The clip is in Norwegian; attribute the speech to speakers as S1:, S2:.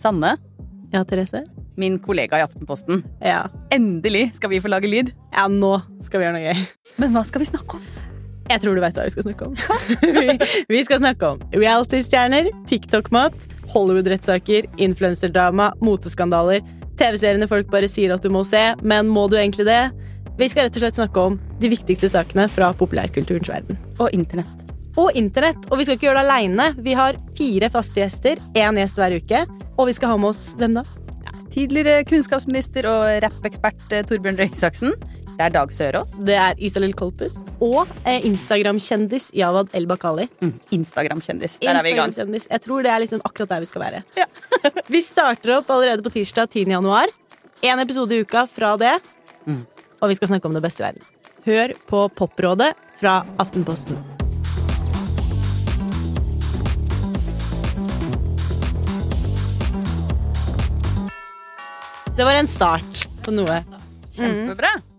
S1: Sanne,
S2: Ja, Therese?
S1: min kollega i Aftenposten.
S2: Ja.
S1: Endelig skal vi få lage lyd.
S2: ja, nå skal vi gjøre noe gøy.
S1: Men hva skal vi snakke om?
S2: Jeg tror du vet hva vi skal snakke om. Vi- vi skal snakke om reality-stjerner, TikTok-mat, Hollywood-rettssaker, influenserdrama, moteskandaler, TV-seriene folk bare sier at du må se, men må du egentlig det? Vi skal rett og slett snakke om de viktigste sakene fra populærkulturens verden.
S1: Og internett.
S2: Og internett. Og vi skal ikke gjøre det aleine. Vi har fire faste gjester, én gjest hver uke. Og vi skal ha med oss hvem da?
S1: Tidligere kunnskapsminister og rappekspert eh, Torbjørn Røe Isaksen. Det er Dag Sørås.
S2: Det er Isalill Kolpus og eh, Instagram-kjendis Jawad El-Bakali.
S1: Instagram-kjendis. Der er vi i gang.
S2: Instagram-kjendis. Jeg tror det er liksom akkurat der vi skal være.
S1: Ja.
S2: vi starter opp allerede på tirsdag 10. januar. Én episode i uka fra det.
S1: Mm.
S2: Og vi skal snakke om det beste i verden. Hør på Poprådet fra Aftenposten. Det var en start på noe.
S1: Kjempebra.